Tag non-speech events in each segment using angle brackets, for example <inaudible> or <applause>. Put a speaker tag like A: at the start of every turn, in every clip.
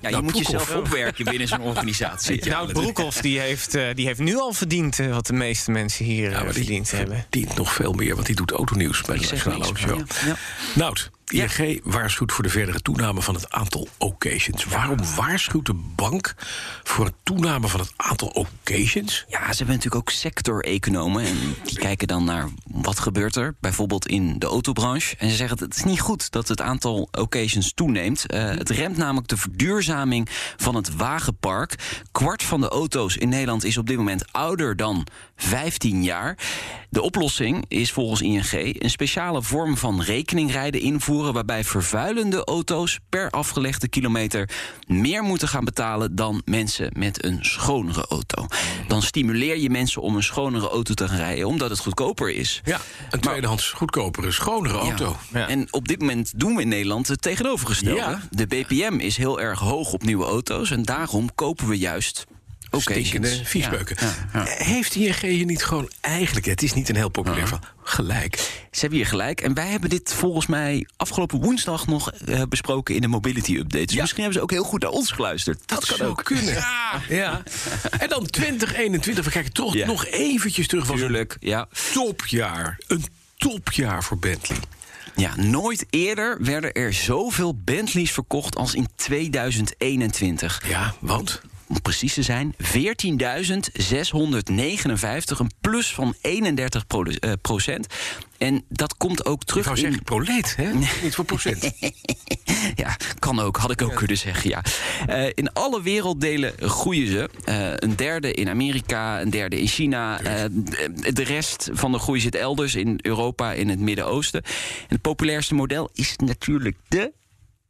A: Ja, je
B: Nou,
A: moet
B: Broekhoff
A: jezelf
B: wel.
A: opwerken binnen zo'n organisatie. Ja,
C: Nou,
A: dat-
C: Broekhoff die heeft, eh, die heeft nu al verdiend eh, wat de meeste mensen hier
B: Ja,
C: eh,
B: maar die
C: verdiend hebben.
B: verdient nog veel meer, want die doet autonieuws bij de
A: zeg
B: Nationale
A: niks,
B: Autoshow.
A: maar ja,
B: Nout, ING waarschuwt voor de verdere toename van het aantal occasions. Waarom waarschuwt de bank voor het toename van het aantal occasions?
A: Ja, ze hebben natuurlijk ook sector-economen. En die kijken dan naar wat gebeurt er, bijvoorbeeld in de autobranche. En ze zeggen het is niet goed dat het aantal occasions toeneemt. Eh, het remt namelijk de verduurzaming van het wagenpark. Kwart van de auto's in Nederland is op dit moment ouder dan 15 jaar. De oplossing is volgens ING een speciale vorm van rekeningrijden invoeren... waarbij vervuilende auto's per afgelegde kilometer... meer moeten gaan betalen dan mensen met een schonere auto. Dan stimuleer je mensen om een schonere auto te gaan rijden... omdat het goedkoper is.
B: Ja, een tweedehands goedkopere, schonere auto.
A: Ja. En op dit moment doen we in Nederland het tegenovergestelde.
B: Ja.
A: De BPM is heel erg hoog op nieuwe auto's... en daarom kopen we juist... occasions.
B: Stinkende viesbeuken.
A: Ja, ja, ja.
B: Heeft ING je niet gewoon eigenlijk, het is niet een heel populair van, gelijk?
A: Ze hebben hier gelijk. En wij hebben dit volgens mij afgelopen woensdag nog eh, besproken in de mobility update. Dus misschien hebben ze ook heel goed naar ons geluisterd. Dat, kan
B: zou
A: ook.
B: kunnen. Ja. En
A: <laughs>
B: dan 2021, we kijken toch
A: Ja.
B: nog eventjes terug. Was een
A: Tuurlijk, ja.
B: topjaar. Een topjaar voor Bentley.
A: ja. Nooit eerder werden er zoveel Bentleys verkocht als in 2021.
B: Ja, want?
A: Om precies te zijn, 14.659, een plus van 31 pro- eh, procent. En dat komt ook
B: Ik
A: terug
B: wou
A: in-
B: zeggen, proleet, hè? Niet voor procent.
A: Ja, kan ook. Had ik ook kunnen zeggen, ja. Eh, in alle werelddelen groeien ze. Eh, een derde in Amerika, een derde in China. Eh, de- de rest van de groei zit elders in Europa, in het Midden-Oosten. En het populairste model is natuurlijk de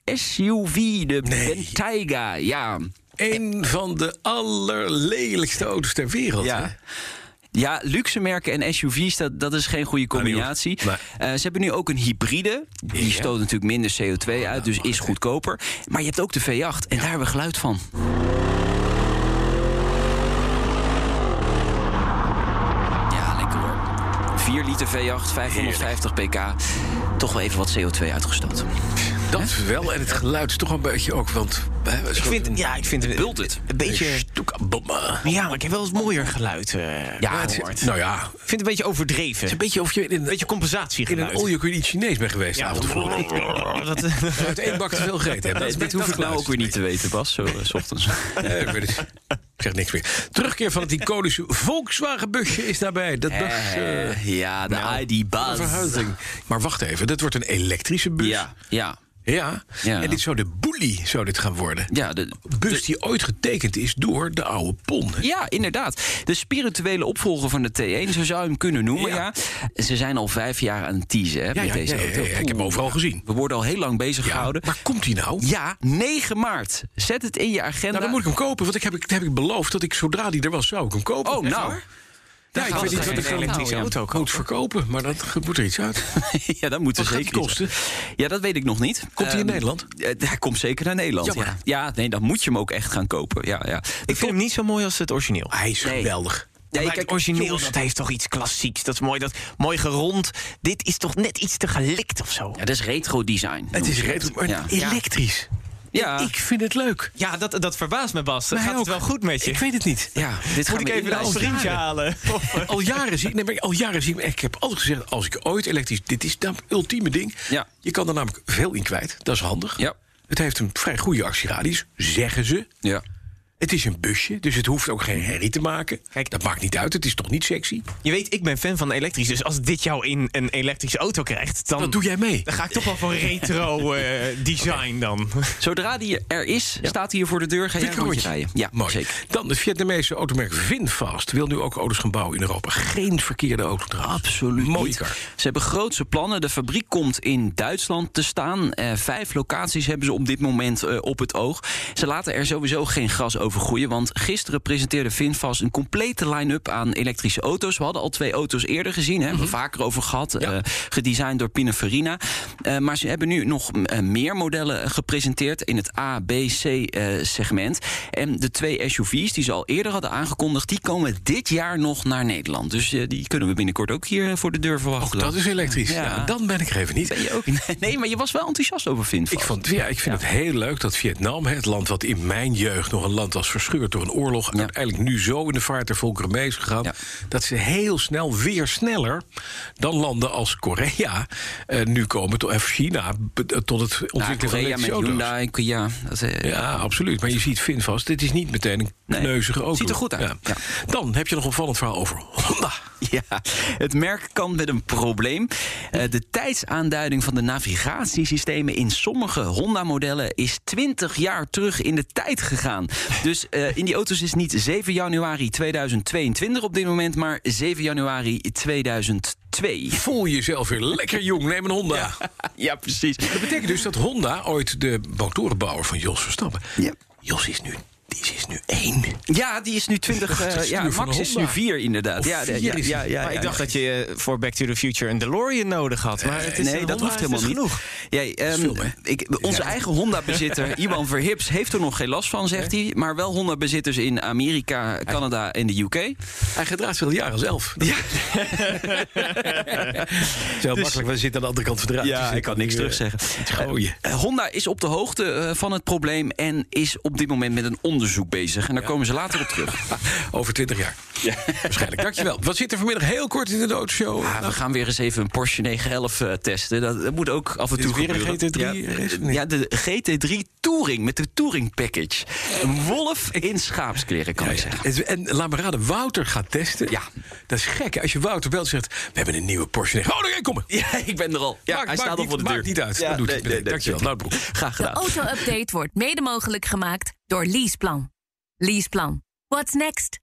A: SUV, de Bentayga. Ja.
B: <laughs> Een van de allerlelijkste auto's ter wereld.
A: Ja.
B: hè? Nou,
A: Ja, luxe merken en SUV's, dat, dat is geen goede combinatie.
B: Nee.
A: Eh, ze hebben nu ook een hybride. Die
B: Ja. Oh, nou,
A: stoot natuurlijk minder CO2 uit, dus is goedkoper. Maar je hebt ook de V8 en daar hebben we geluid van. Ja, lekker hoor. 4 liter V8, 550 pk. Toch wel even wat CO2 uitgestoten.
B: Dat wel. En het geluid is toch een beetje ook. Want ik
C: Ik vind, ja, ik vind het
A: Bult het.
C: een beetje... Ja, maar ik heb wel eens mooier geluid eh
A: Ja,
C: gehoord.
A: het
B: Nou ja, het
C: Ik vind het een beetje overdreven.
B: is een
C: Een
B: beetje of je in een,
C: beetje
B: in een
C: compensatiegeluid.
B: all you can eat Chinees bent geweest. de
C: ja,
B: avond ervoor.
C: <laughs> dat, eh,
B: Uit één bak te veel gegeten hebben.
A: Dit hoef ik nou ook weer niet te weten, Bas, zo eh,
B: <laughs>
A: 's ochtends.
B: Nee, ik weet het. Ik zeg niks meer. Terugkeer van het iconische Volkswagen-busje is daarbij. Dat was eh,
A: Eh, ja, de
B: nou, een
A: ID-buzz.
B: verhuizing. Maar wacht even, dat wordt een elektrische bus.
A: Ja, ja.
B: Ja.
A: Ja.
B: En dit zou de boelie zou dit gaan worden.
A: Ja, de,
B: Bus die ooit getekend is door de oude Pon. hè?
A: ja, inderdaad. De spirituele opvolger van de T1, zo zou je hem kunnen noemen, ja.
B: Ja.
A: Ze zijn al vijf jaar aan het teasen hè,
B: Ja,
A: met
B: ja,
A: deze
B: ja, ja,
A: auto.
B: ja, ik heb hem overal gezien.
A: We worden al heel lang bezig
B: Ja,
A: gehouden.
B: maar komt hij nou?
A: Ja, 9 maart. Zet het in je agenda.
B: Nou, dan moet ik hem kopen, want ik heb, ik heb ik beloofd dat ik zodra die er was, zou ik hem kopen.
A: Oh,
B: Echt
A: nou.
B: waar? Ja, ik
C: gaat
B: weet niet
C: het
B: wat ik
C: geen
B: dan
C: elektrische auto
B: moet verkopen, maar dat moet er iets uit.
A: <laughs> ja, dat moet
B: Wat
A: er
B: gaat
A: zeker
B: die
A: iets-
B: kosten?
A: Ja, dat weet ik nog niet.
B: Komt hij in
A: Ehm,
B: Nederland?
A: eh, <laughs> Hij komt zeker naar Nederland.
B: Jammer.
A: Ja. ja, nee, dan moet je hem ook echt gaan kopen. Ja, ja.
C: ik vind hem niet zo mooi als het origineel.
B: Hij is
A: Nee.
B: geweldig.
A: Ja,
C: maar
A: kijk,
C: het origineel,
A: jongens,
C: dat heeft toch iets klassieks. Dat is mooi, dat, mooi gerond. Dit is toch net iets te gelikt of zo?
A: Ja, dat is retro design.
B: Het is retro, maar
A: Ja. Ah.
B: elektrisch.
A: Ja.
B: Ik vind het leuk.
C: Ja, dat, dat verbaast me, Bas.
B: Mij
C: Gaat het
B: ook.
C: wel goed met je?
B: Ik weet het niet.
A: Ja, dit
C: Moet ik even een
A: de
C: vriendje halen?
B: Al jaren zie ik, nee, maar al jaren zie ik, ik heb altijd gezegd, als ik ooit elektrisch, dit is het ultieme ding.
A: Ja.
B: Je kan er namelijk veel in kwijt, dat is handig.
A: Ja.
B: Het heeft een vrij goede actieradius, zeggen ze.
A: Ja.
B: Het is een busje, dus het hoeft ook geen herrie te maken.
C: Kijk.
B: dat maakt niet uit, het is toch niet sexy?
C: <laughs> Je weet, ik ben fan van elektrisch. Dus als dit jou in een elektrische auto krijgt, dan,
B: Dat doe jij mee.
C: dan ga ik toch wel voor retro eh, design dan.
A: Zodra die er is, staat hij hier voor de deur. Ga jij een
B: Dikke rondje.
A: rondje rijden. Ja,
B: Mooi.
A: zeker.
B: Dan het Vietnamese automerk Vinfast wil nu ook auto's gaan bouwen in Europa. Geen verkeerde auto trouwens.
A: Absoluut.
B: Mooie
A: niet.
B: kar.
A: Ze hebben grootse plannen. De fabriek komt in Duitsland te staan. Eh, vijf locaties hebben ze op dit moment eh, op het oog. Ze laten er sowieso geen gras over overgroeien. Want gisteren presenteerde VinFast een complete line-up aan elektrische auto's. We hadden al twee auto's eerder gezien, hè, hebben we vaker over gehad. eh, gedesigned door Pininfarina. Eh, maar ze hebben nu nog eh, meer modellen gepresenteerd in het A, B, C eh, segment. En de twee SUV's die ze al eerder hadden aangekondigd, die komen dit jaar nog naar Nederland. Dus eh, die kunnen we binnenkort ook hier eh, voor de deur verwachten.
B: Ook dat is elektrisch.
A: Ja.
B: Ja, dan ben ik er even niet.
A: Ben je ook? <laughs> Nee, maar je was wel enthousiast over VinFast.
B: Ik, vond, ja, ik vind het heel leuk dat Vietnam, hè, het land wat in mijn jeugd nog een land was verscheurd door een oorlog,
A: Ja.
B: uiteindelijk nu zo in de vaart der volkeren mee is gegaan.
A: Ja.
B: Dat ze heel snel, weer sneller dan landen als Korea eh, nu komen, tot, of China, be- eh, tot het
A: Ja,
B: ontwikkelen van
A: Nou, Korea met
B: elektrische auto's.
A: Hyundai, ja, dat, eh,
B: Ja, absoluut. Maar je ziet Finvast, dit is niet meteen een
A: Nee,
B: kneuzige auto.
A: ziet er goed uit. Ja.
B: Dan heb je nog een opvallend verhaal over Honda.
A: <laughs> Ja, het merk kan met een probleem. Eh, De tijdsaanduiding van de navigatiesystemen in sommige Honda-modellen is 20 jaar terug in de tijd gegaan. Dus eh, in die auto's is niet 7 januari 2022 op dit moment, maar 7 januari 2002.
B: Voel jezelf weer lekker jong, neem een Honda.
A: Ja, precies.
B: Dat betekent dus dat Honda, ooit de motorenbouwer van Jos Verstappen...
A: Ja.
B: Jos is nu, die is nu één.
A: Ja, die is nu 20. eh,
B: Het stuur
A: ja,
B: van
A: Max
B: een
A: is nu
B: Honda.
A: 4 inderdaad.
B: Of
A: ja,
B: vier
A: ja,
B: is
A: ja,
B: hij.
A: ja,
C: maar
A: ja,
C: ik dacht
A: ja.
C: dat je eh, voor Back to the Future een DeLorean nodig had. Maar het is
A: Eh, nee,
C: een
A: dat
C: Honda
A: hoeft
C: is
A: helemaal
C: dus
A: niet.
C: genoeg.
A: Jij, ehm,
B: veel, hè?
A: ik, onze eigen
B: <laughs>
A: Honda-bezitter, Iwan Verhips, heeft er nog geen last van, zegt hij. Maar wel Honda-bezitters in Amerika, Canada en de UK.
B: Hij gedraagt zich al jaren zelf. Ja. Zo makkelijk, we zitten aan de andere kant van de ruimte.
A: Dus Ja,
B: Dus
A: ik kan
B: nu,
A: niks
B: eh,
A: terugzeggen.
B: iets gooien.
A: Eh, Honda is op de hoogte eh, van het probleem en is op dit moment met een onderzoek bezig. En daar komen ze later op terug.
B: Over 20 jaar. Waarschijnlijk. Dankjewel. Wat zit er vanmiddag heel kort in de doodshow?
A: Ja, Ah, we gaan weer eens even een Porsche 911 eh, testen. Dat, dat moet ook af en
B: Dit is
A: toe
B: weer een
A: gebeuren.
B: GT3
A: Ja,
B: race, of
A: eh,
B: niet?
A: ja, de GT3 Touring met de Touring Package. Een wolf in schaapskleren, kan ik zeggen. <laughs>
B: Het- En laat me raden, Wouter gaat testen.
A: Ja.
B: Dat is gek. hè? Als je Wouter belt zegt, we hebben een nieuwe Porsche. Oh, daar kom ik.
A: Ja, ik ben er al. Ja,
B: Maakt-
A: hij staat
B: maakt
A: al
B: niet-
A: voor de deur.
B: Maakt niet uit.
A: Ja,
B: dat doet
A: nee,
B: hij meteen.
A: nee, nee.
B: Dankjewel, Nou, Loutbroek.
A: Nou, Graag
D: De
A: gedaan.
D: auto-update wordt mede mogelijk gemaakt door Leaseplan. Leaseplan. What's next?